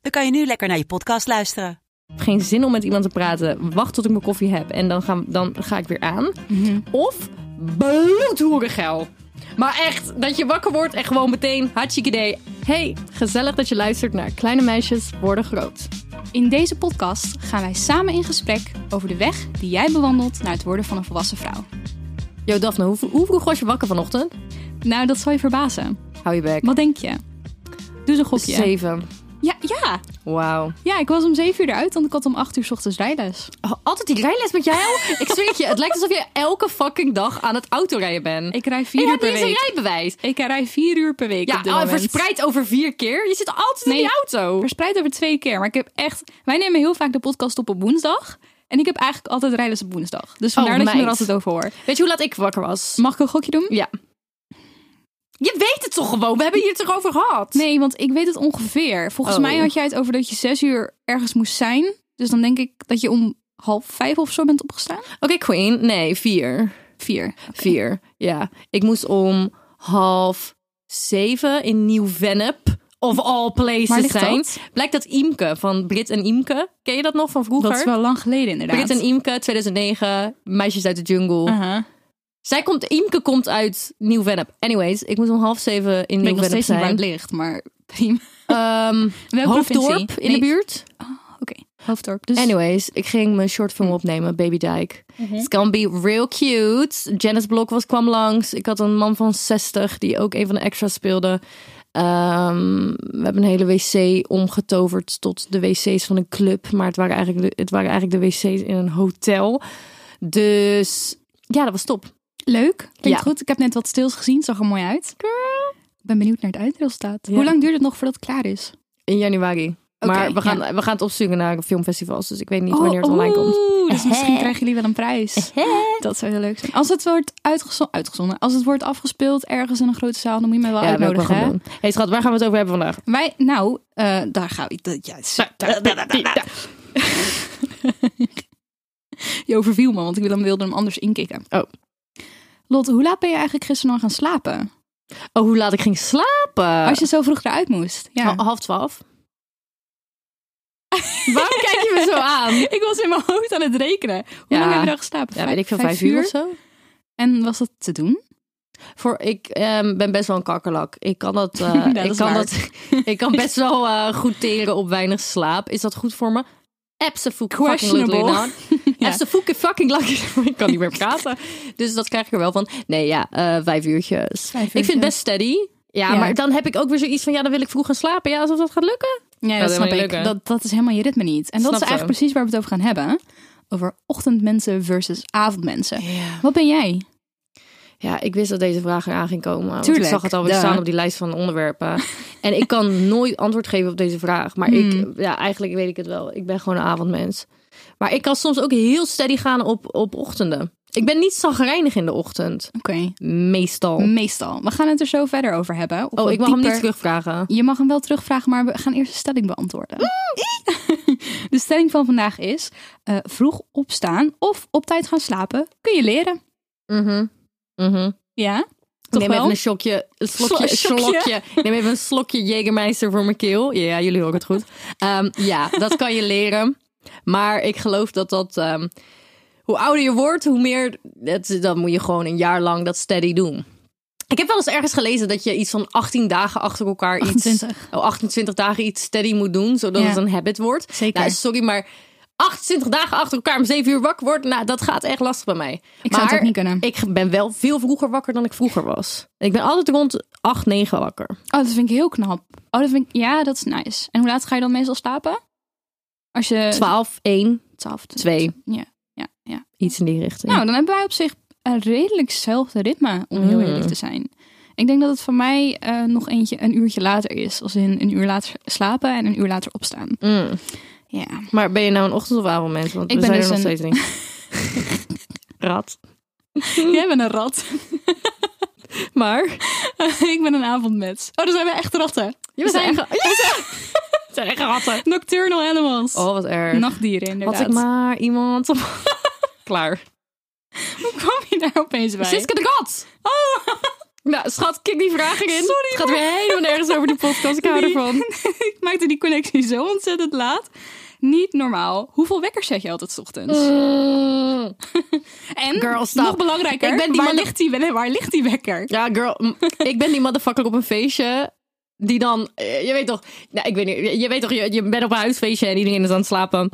dan kan je nu lekker naar je podcast luisteren. geen zin om met iemand te praten. Wacht tot ik mijn koffie heb en dan ga, dan ga ik weer aan. Of bloedhoerengeil. Maar echt, dat je wakker wordt en gewoon meteen hartstikke idee. Hey, gezellig dat je luistert naar Kleine Meisjes Worden Groot. In deze podcast gaan wij samen in gesprek over de weg die jij bewandelt naar het worden van een volwassen vrouw. Yo Daphne, hoe, hoe vroeg was je wakker vanochtend? Nou, dat zal je verbazen. Hou je bek. Wat denk je? Doe eens een gokje. Zeven. Ja, ja, Wauw. ja, ik was om zeven uur eruit, want ik had om acht uur 's ochtends rijles. Oh, altijd die rijles met jou. ik zweer het je, het lijkt alsof je elke fucking dag aan het autorijden bent. Ik rij vier je uur hebt per niet eens een week. rijbewijs. Ik rij vier uur per week Ja, op dit oh, moment. verspreid over vier keer. Je zit altijd in Nee. die auto. Verspreid over twee keer, maar ik heb echt... Wij nemen heel vaak de podcast op op woensdag. En ik heb eigenlijk altijd rijles op woensdag. Dus vandaar dat je Oh, meid. er altijd over hoort. Weet je hoe laat ik wakker was? Mag ik een gokje doen? Ja. Je weet het toch gewoon? We hebben hier het toch over gehad? Nee, want ik weet het ongeveer. Volgens Oh. mij had jij het over dat je zes uur ergens moest zijn. Dus dan denk ik dat je om half vijf of zo bent opgestaan. Oké, Queen. Nee, vier. Vier. Vier. Ja. Ik moest om half zeven in Nieuw-Vennep. Of all places Waar ligt zijn. dat? Blijkt dat Imke van Brit en Imke. Ken je dat nog van vroeger? Dat is wel lang geleden inderdaad. Brit en Imke, 2009. Meisjes uit de jungle. Aha. Zij komt, Imke komt uit Nieuw-Vennep. Anyways, ik moest om half zeven in Ik weet nog Nieuw-Vennep steeds niet waar zijn. het ligt, maar prima. Ehm, Welke Hoofddorp provincie? in de Nee. buurt. Oké, hoofddorp. Dus Hm. Mhm. Anyways, ik ging mijn short film opnemen, Baby Dijk. It's gonna be real cute. Janice Blok was, kwam langs. Ik had een man van 60 die ook een van de extras speelde. Ehm, we hebben een hele wc omgetoverd tot de wc's van een club. Maar het waren eigenlijk de, het waren eigenlijk de wc's in een hotel. Dus ja, dat was top. leuk. Klinkt Ja. goed. Ik heb net wat stils gezien. Zag er mooi uit. Ik ben benieuwd naar het eindresultaat. Ja. Hoe lang duurt het nog voordat het klaar is? In januari. maar Oké, Oh, we gaan, we gaan het opzoeken naar filmfestivals. Dus ik weet niet wanneer het online komt. oeh, Dus misschien krijgen jullie wel een prijs. Dat zou heel leuk zijn. Als het wordt uitgezo- uitgezonden, als het wordt afgespeeld ergens in een grote zaal, dan moet je mij wel Ja, dat wil ik wel gaan uitnodigen. Oh, hè? doen. hey, schat, waar gaan we het over hebben vandaag? Wij, nou, eh, daar gaan we. dat- Ja, s- Nou, eh, je overviel me, want ik wilde, wilde hem anders inkikken. Oh. Lot, hoe laat ben je eigenlijk gisteren nog gaan slapen? Oh, hoe laat ik ging slapen. Als je zo vroeg eruit moest. Ja. Hal- half twaalf. Waarom kijk je me zo aan? Ik was in mijn hoofd aan het rekenen. Hoe oh. Ja. lang heb je dan geslapen? Ja, weet ik veel, vijf, uur of zo. En was dat te doen? Voor, ik ehm, ben best wel een kakkerlak. Ik kan, dat, eh, dat ik, is kan waar. dat, ik kan best wel eh, goed teren op weinig slaap. Is dat goed voor me? Absolutely Questionable. not. Absolutely fucking lucky. ik kan niet meer praten. Dus dat krijg ik er wel van. Nee, ja, eh, vijf uurtjes. ik vind het uurtjes. best steady. Ja, Ja. maar dan heb ik ook weer zoiets van... ja, dan wil ik vroeg gaan slapen. Ja, alsof dat gaat lukken. Ja, dat dat, helemaal snap niet ik. lukken. Dat, dat is helemaal je ritme niet. En dat Snap is eigenlijk zo. precies waar we het over gaan hebben. Over ochtendmensen versus avondmensen. Wat ben jij? Ja, ik wist dat deze vraag eraan ging komen. want Tuurlijk, ik zag het alweer duh. staan op die lijst van onderwerpen. en ik kan nooit antwoord geven op deze vraag. Maar ik, Hmm. ja, eigenlijk weet ik het wel. Ik ben gewoon een avondmens. Maar ik kan soms ook heel steady gaan op, op ochtenden. Ik ben niet zagrijnig in de ochtend. Oké. Meestal. Meestal. We gaan het er zo verder over hebben. oh, Of Mm, wat ik mag hem niet dieper. terugvragen. Je mag hem wel terugvragen, maar we gaan eerst de stelling beantwoorden. De stelling van vandaag is: eh, vroeg opstaan of op tijd gaan slapen kun je leren. Mhm. Mm-hmm. Mhm. Ja, toch Neem wel? even een slokje, een slokje, Slo- slokje. slokje. Neem even een slokje Jägermeister voor mijn keel. Ja, jullie horen het goed. Ehm, ja, dat kan je leren. Maar ik geloof dat dat... ehm, hoe ouder je wordt, hoe meer... Het, dan moet je gewoon een jaar lang dat steady doen. Ik heb wel eens ergens gelezen dat je iets van 18 dagen achter elkaar... iets- 28. oh, 28 dagen iets steady moet doen, zodat Ja. het een habit wordt. Zeker. Nou, sorry, maar 28 dagen achter elkaar om 7 uur wakker worden... Nou, dat gaat echt lastig bij mij. Ik zou het Maar ook niet kunnen. ik ben wel veel vroeger wakker dan ik vroeger was. Ik ben altijd rond 8, 9 wakker. Oh, dat vind ik heel knap. Oh, dat vind ik, ja, dat is nice. En hoe laat ga je dan meestal slapen? Als je 12, 1, 12, 2. Ja, ja, ja. Iets in die richting. Nou, dan hebben wij op zich een redelijk hetzelfde ritme, om heel Mm. eerlijk te zijn. Ik denk dat het van mij eh, nog eentje een uurtje later is. Als in een uur later slapen en een uur later opstaan. Mm. Ja. Maar ben je nou een ochtend- of avondmens? Want Ik we ben zijn dus er nog een- steeds niet. Rat. Jij bent een rat. Maar... ik ben een avondmens. Oh, dan zijn we echt ratten. Je bent zijn- echt... Het zijn echt ratten. Nocturnal animals. Oh, wat erg. Nachtdieren, inderdaad. Had ik maar iemand... op- Klaar. Hoe kwam je daar opeens bij? Siska de kat! Oh, Nou, schat, kik die vraag in. Sorry, Het gaat weer helemaal nergens over die podcast. Ik hou Nee. ervan. ik maakte die connectie zo ontzettend laat. Niet normaal. Hoeveel wekkers zet je altijd 's ochtends? Mm. en, girl, stop. nog belangrijker, Ik ben die waar, man- ligt die, nee, waar ligt die wekker? Ja, girl, mm, ik ben die motherfucker op een feestje. Die dan, eh, je weet toch, nou, ik weet niet, je- je weet toch, je, je bent op een huisfeestje en iedereen is aan het slapen.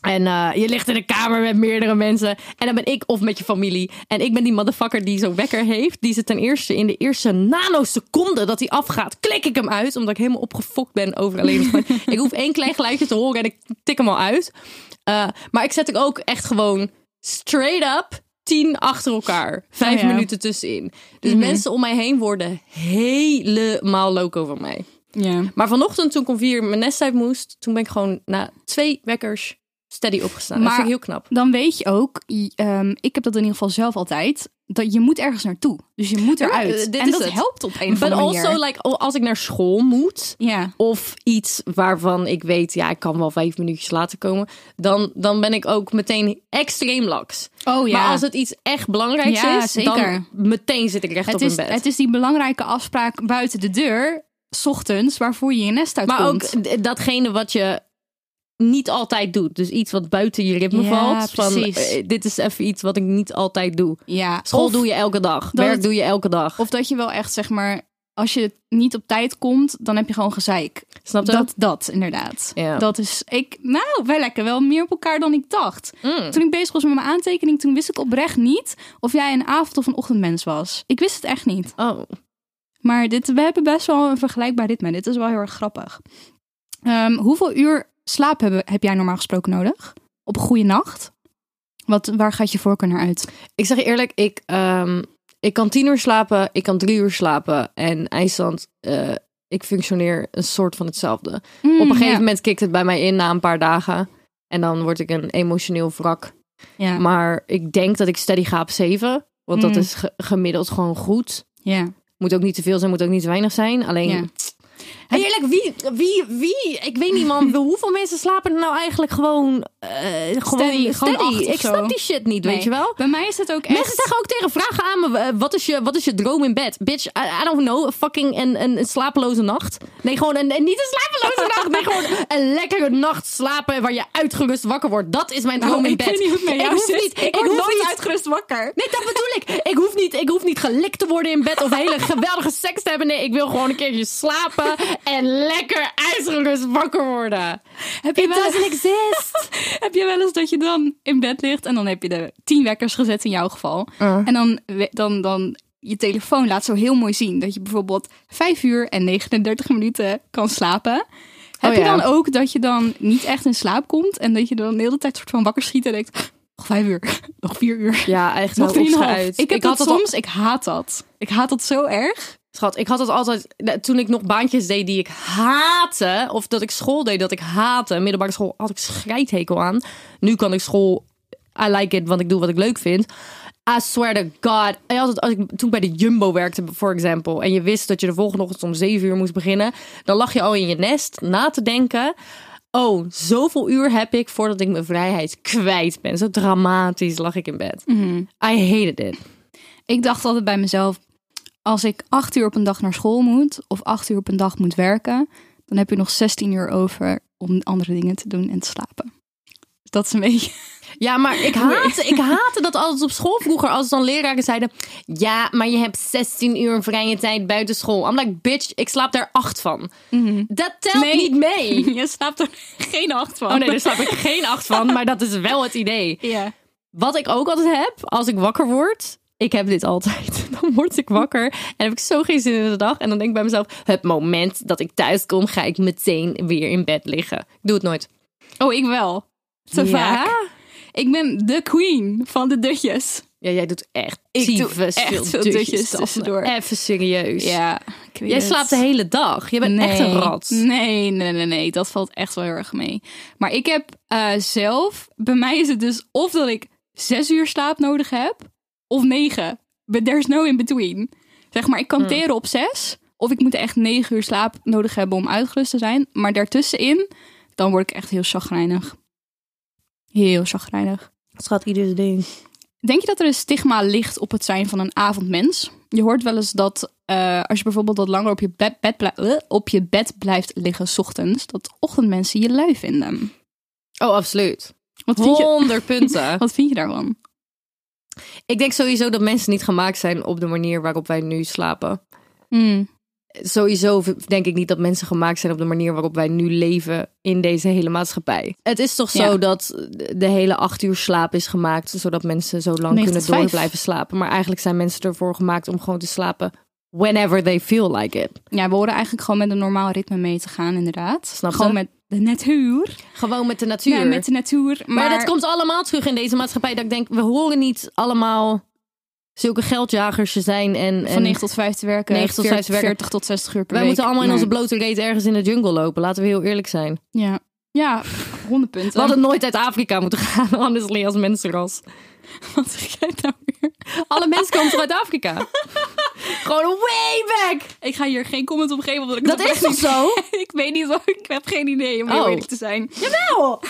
En eh, je ligt in een kamer met meerdere mensen. En dan ben ik of met je familie. En ik ben die motherfucker die zo'n wekker heeft. Die ze ten eerste in de eerste nanoseconde dat hij afgaat, klik ik hem uit. Omdat ik helemaal opgefokt ben over alleen. maar gewoon- ik hoef één klein geluidje te horen en ik tik hem al uit. Eh, maar ik zet ik ook echt gewoon straight up tien achter elkaar. Vijf Oh ja. Mhm. minuten tussenin. Dus mensen om mij heen worden helemaal loco van mij. Ja. Maar vanochtend toen ik om vier uur mijn nest uit moest, toen ben ik gewoon na twee wekkers steady opgestaan. Maar- dat vind ik heel knap. Dan weet je ook, i- ehm, ik heb dat in ieder geval zelf altijd, dat je moet ergens naartoe. Dus je moet eruit. eh, dit en is dat het. helpt op een of But andere manier. also, like, oh, als ik naar school moet ja. of iets waarvan ik weet, ja, ik kan wel vijf minuutjes later komen, dan, dan ben ik ook meteen extreem laks. Oh ja. Maar als het iets echt belangrijks Ja, is, zeker. dan meteen zit ik recht op het, mijn is, bed. het is die belangrijke afspraak buiten de deur, 's ochtends, waarvoor je je nest Maar uitkomt. ook d- datgene wat je niet altijd doet. Dus iets wat buiten je ritme Ja, valt. Van, precies. eh, dit is even iets wat ik niet altijd doe. ja. School Of- doe je elke dag. dat Werk het- doe je elke dag. Of dat je wel echt, zeg maar, als je niet op tijd komt, dan heb je gewoon gezeik. Snap je? Dat, dat, inderdaad. Ja. Dat is, ik, nou, wij lekker wel meer op elkaar dan ik dacht. Mm. Toen ik bezig was met mijn aantekening, toen wist ik oprecht niet of jij een avond- of een ochtendmens was. Ik wist het echt niet. Oh, Maar dit, we hebben best wel een vergelijkbaar ritme. Dit is wel heel erg grappig. Ehm, hoeveel uur slaap hebben, heb jij normaal gesproken nodig? Op een goede nacht? Wat, waar gaat je voorkeur naar uit? ik zeg je eerlijk, ik, ehm, ik kan tien uur slapen, ik kan drie uur slapen. En IJsland, eh, ik functioneer een soort van hetzelfde. Mm, Op een gegeven moment kikt het bij mij in na een paar dagen. En dan word ik een emotioneel wrak. Ja. Maar ik denk dat ik steady ga op zeven. Want dat Mm. is ge- gemiddeld gewoon goed. ja. Moet ook niet te veel zijn, moet ook niet te weinig zijn. Alleen. Ja. Hey, eerlijk, wie, wie, wie? Ik weet niet, man. Hoeveel mensen slapen er nou eigenlijk gewoon. eh, gewoon Steady, gewoon acht of Ik zo. snap die shit niet, weet Nee. je wel? Bij mij is het ook echt... Mensen zeggen ook tegen vragen aan me: eh, wat is je, wat is je droom in bed? Bitch, I, I don't know. a Fucking een, een, een slapeloze nacht. Nee, gewoon een, een- niet een slapeloze nacht. Nee, gewoon een lekkere nacht slapen waar je uitgerust wakker wordt. Dat is mijn droom Nou, in ik bed. weet niet hoe het met ik jou hoef zit. niet. Ik word hoef nooit niet- uitgerust wakker. Nee, dat bedoel ik. Ik hoef, niet, ik hoef niet gelikt te worden in bed of hele geweldige seks te hebben. Nee, ik wil gewoon een keertje slapen en lekker uitgerust wakker worden. Heb je, It wel, doesn't exist. heb je wel eens dat je dan in bed ligt en dan heb je de tien wekkers gezet in jouw geval. En dan, we- dan, dan je telefoon laat zo heel mooi zien dat je bijvoorbeeld 5 uur en 39 minuten kan slapen. Heb je ja. dan ook dat je dan niet echt in slaap komt en dat je dan de hele tijd soort van wakker schiet en denkt, nog vijf uur, nog vier uur, Ja, echt nog wel drieënhalf. Ik opschuit. heb dat had al- soms, ik haat dat. Ik haat dat zo erg. Schat, ik had het altijd. Toen ik nog baantjes deed die ik haatte. Of dat ik school deed dat ik haatte. Middelbare school had ik scheidhekel aan. Nu kan ik school. I like it, want ik doe wat ik leuk vind. I swear to God. En altijd, als ik toen bij de Jumbo werkte, for example. En je wist dat je de volgende ochtend om 7 uur moest beginnen. Dan lag je al in je nest na te denken. Oh, zoveel uur heb ik voordat ik mijn vrijheid kwijt ben. Zo dramatisch lag ik in bed. I hated it. Ik dacht altijd bij mezelf: als ik acht uur op een dag naar school moet of acht uur op een dag moet werken, dan heb je nog 16 uur over om andere dingen te doen en te slapen. Dus Dat is een beetje. Ja, maar ik haatte, ik haatte dat altijd op school vroeger. Als dan leraren zeiden... Ja, maar je hebt 16 uur vrije tijd buiten school. I'm like, bitch, ik slaap daar acht van. Dat telt Nee. niet mee. Je slaapt er geen acht van. Oh nee, daar slaap ik geen acht van. Maar dat is wel het idee. Ja. Wat ik ook altijd heb, als ik wakker word... Ik heb dit altijd. Dan word ik wakker en heb ik zo geen zin in de dag. En dan denk ik bij mezelf... Het moment dat ik thuis kom, ga ik meteen weer in bed liggen. Ik doe het nooit. Oh, ik wel. Te Ja? vaak. Ik ben de queen van de dutjes. Ja, jij doet echt Ik doe tyfus echt veel veel dutjes dutjes tussendoor. tussendoor. Even serieus. Ja, ik weet Jij het. slaapt de hele dag. Je bent echt een rat. Nee, nee, nee, nee. Dat valt echt wel heel erg mee. Maar ik heb eh, zelf, bij mij is het dus of dat ik zes uur slaap nodig heb, of negen. But there's no in between. Zeg maar, ik Hmm. kan teren op zes, of ik moet echt negen uur slaap nodig hebben om uitgerust te zijn. Maar daartussenin, dan word ik echt heel chagrijnig. Heel chagrijnig. Schat, ieders ding. Denk je dat er een stigma ligt op het zijn van een avondmens? Je hoort wel eens dat eh, als je bijvoorbeeld wat langer op je bed, bed blij- eh, op je bed blijft liggen 's ochtends, dat ochtendmensen je lui vinden. Oh, absoluut. Wat vind je, 100 punten. wat vind je daarvan? Ik denk sowieso dat mensen niet gemaakt zijn op de manier waarop wij nu slapen. Hmm, Sowieso v- denk ik niet dat mensen gemaakt zijn op de manier waarop wij nu leven in deze hele maatschappij. Het is toch zo Ja. dat de hele acht uur slaap is gemaakt, zodat mensen zo lang Negen kunnen tot vijf. door blijven slapen. Maar eigenlijk zijn mensen ervoor gemaakt om gewoon te slapen whenever they feel like it. Ja, we horen eigenlijk gewoon met een normaal ritme mee te gaan, inderdaad. Snap je? gewoon met de natuur. Gewoon met de natuur. Ja, met de natuur. Maar, Maar, dat komt allemaal terug in deze maatschappij. Dat ik denk, we horen niet allemaal zulke geldjagers te zijn. En, van en 9 tot 5 te werken, 9 tot 40 5 te werken. 40 tot 60 uur per wij week. moeten allemaal in Nee. onze blote reet ergens in de jungle lopen. Laten we heel eerlijk zijn. Ja, ja 100 punten. We hadden nooit uit Afrika moeten gaan, honestly, als mensenras. Wat zeg jij nou weer? Alle mensen komen toch uit Afrika? Gewoon way back! Ik ga hier geen comment op geven. Omdat ik Dat het is toch oprecht niet- zo? ik weet niet, wat- ik heb geen idee om heel Oh. eerlijk te zijn. Jawel!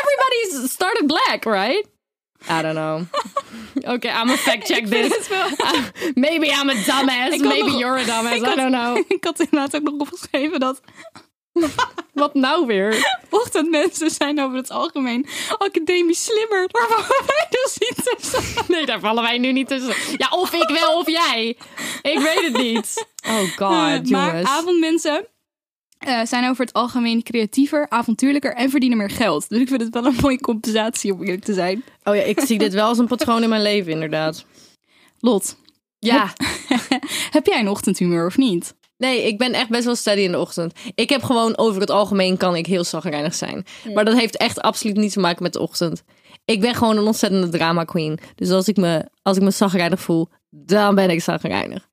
Everybody's started black, right? I don't know. Oké, I'm a fact check Dit this. is wel- Maybe I'm a dumbass. Ik kan Maybe nog- you're a dumbass. ik had- I don't know. ik had inderdaad ook nog opgeschreven dat Wat nou weer? ochtendmensen zijn over het algemeen academisch slimmer. Waarvan wij dus niet tussen zijn. Nee, daar vallen wij nu niet tussen. Ja, of ik wel of jij. Ik weet het niet. Oh god, Eh, maar jongens. avondmensen eh, zijn over het algemeen creatiever, avontuurlijker en verdienen meer geld. Dus ik vind het wel een mooie compensatie om eerlijk te zijn. Oh ja, ik zie dit wel als een patroon in mijn leven, inderdaad. Lot, Ja. heb jij een ochtendhumeur of niet? Nee, ik ben echt best wel steady in de ochtend. Ik heb gewoon over het algemeen kan ik heel zagrijnig zijn. Maar dat heeft echt absoluut niets te maken met de ochtend. Ik ben gewoon een ontzettende drama queen. Dus als ik me, als ik me zagrijnig voel, dan ben ik zagrijnig.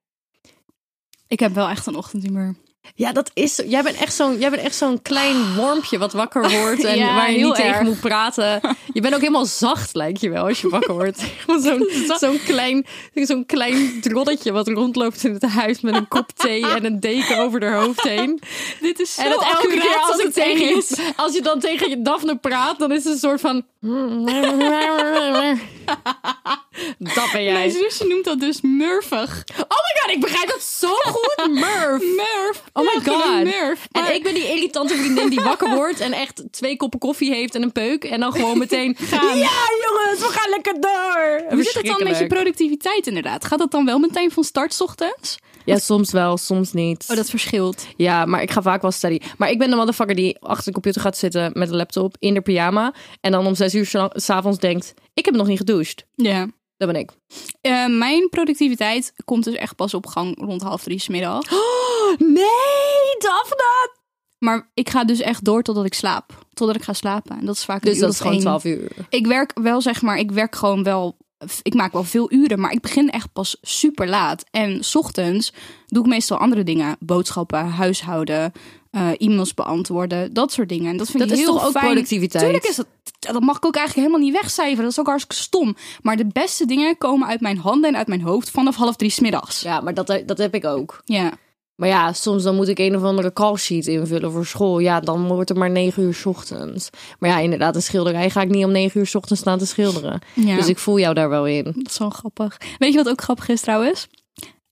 Ik heb wel echt een ochtendhumeur. Ja, dat is. zo- Jij bent echt zo'n, jij bent echt zo'n klein wormpje wat wakker wordt en Ah. Ja, waar je heel niet erg. tegen moet praten. Je bent ook helemaal zacht, lijkt je wel, als je wakker wordt. Gewoon zo'n, zo'n klein, zo'n klein drolletje wat rondloopt in het huis met een kop thee en een deken over haar hoofd heen. Dit is zo En dat elke keer accuraat als, als ik het tegen tegen je je, als je dan tegen je Daphne praat, dan is het een soort van. Dat ben jij. Mijn zusje noemt dat dus murfig. Oh my god, ik begrijp dat zo goed, Murph. Murf. Oh my Ja, geen god. Murf. Maar En ik ben die irritante vriendin die wakker wordt en echt twee koppen koffie heeft en een peuk. En dan gewoon meteen gaan. Ja, jongens, we gaan lekker door. hoe zit het dan met je productiviteit inderdaad? Gaat dat dan wel meteen van start 's ochtends? Ja, soms wel, soms niet. Oh, dat verschilt. Ja, maar ik ga vaak wel steady. Maar ik ben de motherfucker die achter de computer gaat zitten met een laptop in de pyjama. En dan om zes uur sla- s'avonds denkt, ik heb nog niet gedoucht. Ja. Dat ben ik. Eh, mijn productiviteit komt dus echt pas op gang rond half drie 's middag. Oh. Nee, Daphne! Maar ik ga dus echt door totdat ik slaap. Totdat ik ga slapen. En dat is vaak een Dus uur dat of is gewoon één. twaalf uur. Ik werk wel, zeg maar, ik werk gewoon wel. Ik maak wel veel uren, maar ik begin echt pas super laat. En 's ochtends doe ik meestal andere dingen: boodschappen, huishouden, eh, e-mails beantwoorden, dat soort dingen. En dat vind Dat ik is heel toch ook fijn. productiviteit? Tuurlijk is dat. Dat mag ik ook eigenlijk helemaal niet wegcijferen. Dat is ook hartstikke stom. Maar de beste dingen komen uit mijn handen en uit mijn hoofd vanaf half drie 's middags. Ja, maar dat, dat heb ik ook. Ja. Maar ja, soms dan moet ik een of andere call sheet invullen voor school. Ja, dan wordt het maar negen uur 's ochtends. Maar ja, inderdaad, een schilderij ga ik niet om negen uur 's ochtends staan te schilderen. Ja. Dus ik voel jou daar wel in. Dat is wel grappig. Weet je wat ook grappig is trouwens?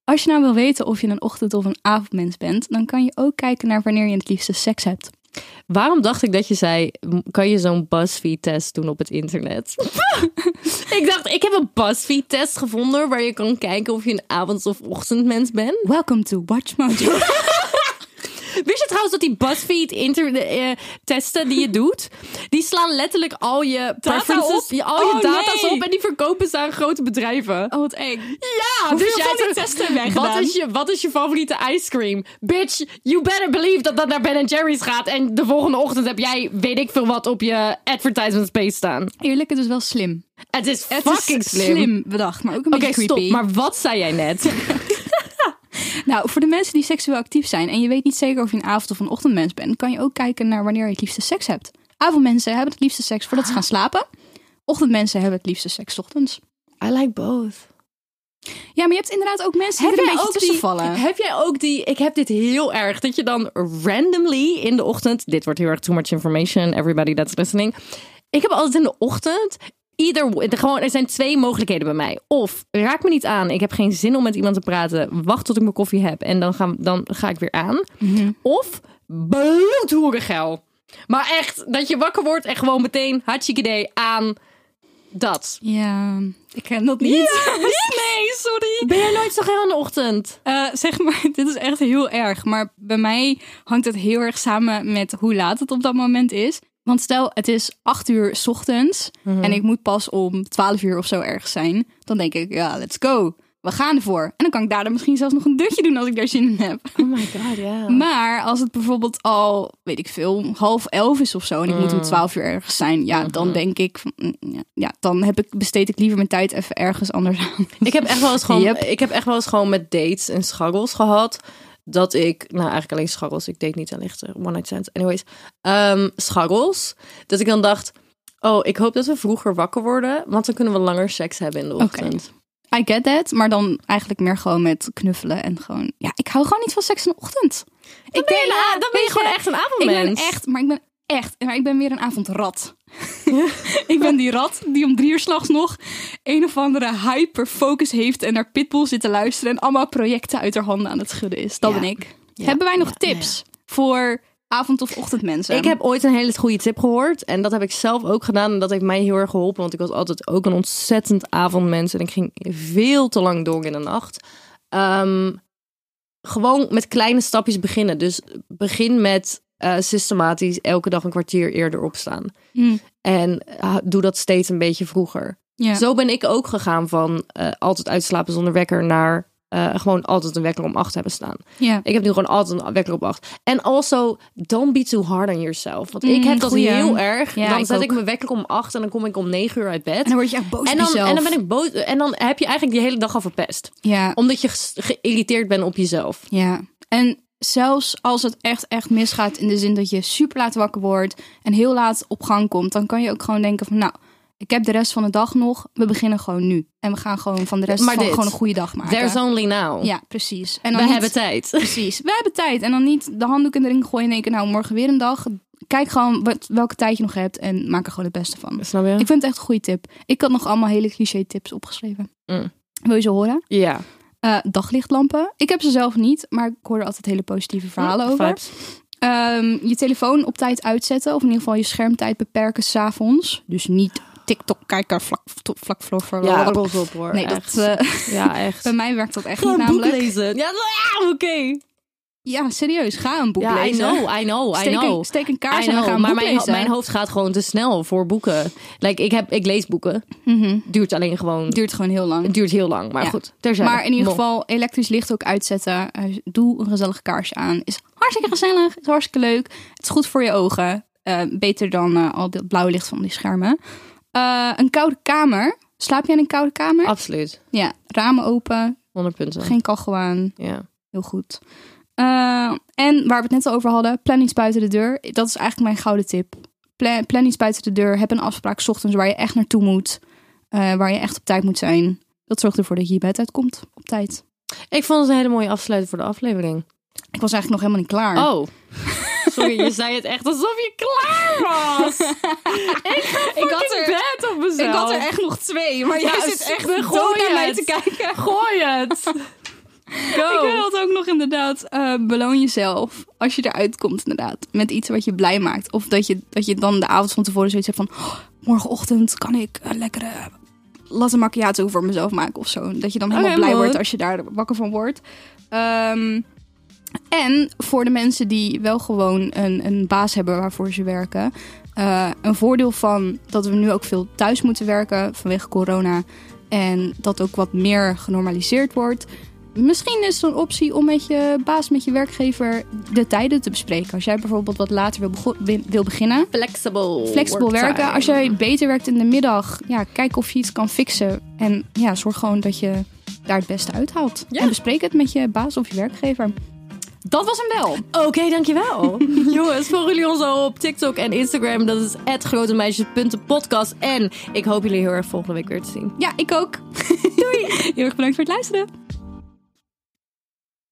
Als je nou wil weten of je een ochtend- of een avondmens bent, dan kan je ook kijken naar wanneer je het liefste seks hebt. Waarom dacht ik dat je zei, m- kan je zo'n BuzzFeed-test doen op het internet? ik dacht, ik heb een BuzzFeed-test gevonden waar je kan kijken of je een avonds- of ochtendmens bent. Welcome to Watch Mojo. Wist je trouwens dat die BuzzFeed inter- eh, testen die je doet, die slaan letterlijk al je preferences, op? je- al je Oh, data's nee. op en die verkopen ze aan grote bedrijven. Oh, wat eng. Ja, dus Hoeveel van die hebt er- testen heb jij wat gedaan? is, je, wat is je favoriete ice cream? Bitch, you better believe dat dat naar Ben Jerry's gaat. En de volgende ochtend heb jij, weet ik veel wat, op je advertisement space staan. Eerlijk, het is dus wel slim. Het is Het fucking is slim. slim. bedacht, maar ook een Oké, beetje creepy. stop. Maar wat zei jij net? Nou, voor de mensen die seksueel actief zijn en je weet niet zeker of je een avond- of een ochtendmens bent, kan je ook kijken naar wanneer je het liefste seks hebt. Avondmensen hebben het liefste seks voordat ze gaan slapen. Ochtendmensen hebben het liefste seks 's ochtends. I like both. Ja, maar je hebt inderdaad ook mensen die er een beetje tussen die, vallen. heb jij ook die... Ik heb dit heel erg. Dat je dan randomly in de ochtend... Dit wordt heel erg too much information. Everybody that's listening. Ik heb altijd in de ochtend... Either, w- er gewoon, er zijn twee mogelijkheden bij mij. Of raak me niet aan. Ik heb geen zin om met iemand te praten. Wacht tot ik mijn koffie heb. En dan ga, dan ga ik weer aan. Of bloedhoerengeil. Maar echt, dat je wakker wordt en gewoon meteen hartstikke aan. Dat. Ja, ik ken dat niet. nee, sorry. Ben jij nooit zo geil in de ochtend? Eh, zeg maar, dit is echt heel erg. Maar bij mij hangt het heel erg samen met hoe laat het op dat moment is. Want stel, het is 8 uur 's ochtends en ik moet pas om 12 uur of zo erg zijn. Dan denk ik, ja, let's go. We gaan ervoor. En dan kan ik daarna misschien zelfs nog een dutje doen als ik daar zin in heb. Oh my god, ja. Maar als het bijvoorbeeld al, weet ik veel, om half elf is of zo en ik moet om 12 uur ergens zijn, ja, dan denk ik, van, mm, ja, ja, dan heb ik, besteed ik liever mijn tijd even ergens anders aan. Ik heb echt wel eens gewoon, Yep. ik heb echt wel eens gewoon met dates en scharrels gehad. Dat ik, nou eigenlijk alleen scharrels, ik date niet aan lichter, one night stands. Anyways, ehm scharrels. Dat ik dan dacht, oh, ik hoop dat we vroeger wakker worden, want dan kunnen we langer seks hebben in de ochtend. I get that, maar dan eigenlijk meer gewoon met knuffelen en gewoon. Ja, ik hou gewoon niet van seks in de ochtend. ik ben je een a- dan ben je weet gewoon echt een Ik avondmens. ben echt, maar ik ben echt, maar ik ben meer een avondrat. ik ben die rat die om drie uur s'nachts nog een of andere hyperfocus heeft en naar Pitbull zit te luisteren en allemaal projecten uit haar handen aan het schudden is. Dat Ja. ben ik. Ja. Hebben wij nog Ja, tips voor avond- of ochtendmensen? Ik heb ooit een hele goede tip gehoord. En dat heb ik zelf ook gedaan. En dat heeft mij heel erg geholpen. Want ik was altijd ook een ontzettend avondmens. En ik ging veel te lang door in de nacht. Ehm, gewoon met kleine stapjes beginnen. Dus begin met eh, systematisch elke dag een kwartier eerder opstaan. Mm, En ah, doe dat steeds een beetje vroeger. ja. Zo ben ik ook gegaan van eh, altijd uitslapen zonder wekker naar eh, gewoon altijd een wekker om acht hebben staan. ja. Ik heb nu gewoon altijd een wekker op acht. En also, don't be too hard on yourself. Want ik Mm, heb dat goeie. heel erg. Ja, dan ik zet ik ook. mijn wekker om acht en dan kom ik om negen uur uit bed. En dan word je echt boos en op dan, jezelf. en dan ben ik boos. En dan heb je eigenlijk die hele dag al verpest. Ja. Omdat je ges- geïrriteerd bent op jezelf. Ja, en zelfs als het echt, echt misgaat in de zin dat je super laat wakker wordt en heel laat op gang komt, dan kan je ook gewoon denken van nou, ik heb de rest van de dag nog, we beginnen gewoon nu. En we gaan gewoon van de rest Maar van dit, gewoon een goede dag maken. There's only now. Ja, precies. En We dan niet- hebben tijd. Precies, we hebben tijd. En dan niet de handdoek in de ring gooien en denken nou, morgen weer een dag. Kijk gewoon wat, welke tijd je nog hebt en maak er gewoon het beste van. Snap je? Ik vind het echt een goede tip. Ik had nog allemaal hele cliché tips opgeschreven. Mm. Wil je ze horen? ja. Eh, daglichtlampen. Ik heb ze zelf niet, maar ik hoor er altijd hele positieve verhalen over. Vibes. Ehm, je telefoon op tijd uitzetten. Of in ieder geval je schermtijd beperken s'avonds. Dus niet TikTok kijken vlak, vlak voor. voor- Ja, rot op hoor. nee, echt. dat, eh, ja, echt. bij mij werkt dat echt Ga niet een boek namelijk. lezen. Ja, nou, ja, oké. Ja, serieus. Ga een boek Ja, I lezen. know, I know, I Steek know. een, steek een kaars I en we know, gaan een maar boek mijn, lezen. mijn hoofd gaat gewoon te snel voor boeken. Like, ik, heb, ik lees boeken. Mhm. Duurt alleen gewoon. Duurt gewoon heel lang. Het duurt heel lang, maar Ja. goed. Terzijde. Maar in ieder Mo. geval elektrisch licht ook uitzetten. Eh, Doe een gezellige kaars aan. Is hartstikke gezellig, is hartstikke leuk. Het is goed voor je ogen. Eh, beter dan eh, al dat blauwe licht van die schermen. Eh, een koude kamer. Slaap jij in een koude kamer? Ah. Absoluut. Ja, ramen open, 100 punten. geen kachel aan. Ja. Heel goed. Eh, en waar we het net al over hadden, plan iets buiten de deur. Dat is eigenlijk mijn gouden tip. Plan, plan iets buiten de deur. Heb een afspraak 's ochtends waar je echt naartoe moet. eh, waar je echt op tijd moet zijn. Dat zorgt ervoor dat je je bed uitkomt op tijd. Ik vond het een hele mooie afsluiting voor de aflevering. Ik was eigenlijk nog helemaal niet klaar. Oh. Sorry, je zei het echt alsof je klaar was. ik, had In er, bed op mezelf. ik had er echt nog twee, maar Ja, jij zit echt super, dood gooi naar mij het. te kijken. Gooi het. Go. Ik had ook nog inderdaad, eh, beloon jezelf als je eruit komt inderdaad. Met iets wat je blij maakt. Of dat je, dat je dan de avond van tevoren zoiets hebt van... "Oh, morgenochtend kan ik een lekkere latte macchiato voor mezelf maken of zo. Dat je dan helemaal Oké, blij mooi. wordt als je daar wakker van wordt. Ehm, En voor de mensen die wel gewoon een, een baas hebben waarvoor ze werken. eh, een voordeel van dat we nu ook veel thuis moeten werken vanwege corona. En dat ook wat meer genormaliseerd wordt. Misschien is het een optie om met je baas, met je werkgever, de tijden te bespreken. Als jij bijvoorbeeld wat later wil, bego- wil- wil beginnen. Flexible. Flexibel werken. Als jij beter werkt in de middag, ja, kijk of je iets kan fixen. En ja, zorg gewoon dat je daar het beste uithaalt. Ja. En bespreek het met je baas of je werkgever. Dat was hem wel. Oké, dankjewel. Jongens, volgen jullie ons al op TikTok en Instagram. Dat is het grote meisjes.podcast. En ik hoop jullie heel erg volgende week weer te zien. Ja, ik ook. Doei. Heel erg bedankt voor het luisteren.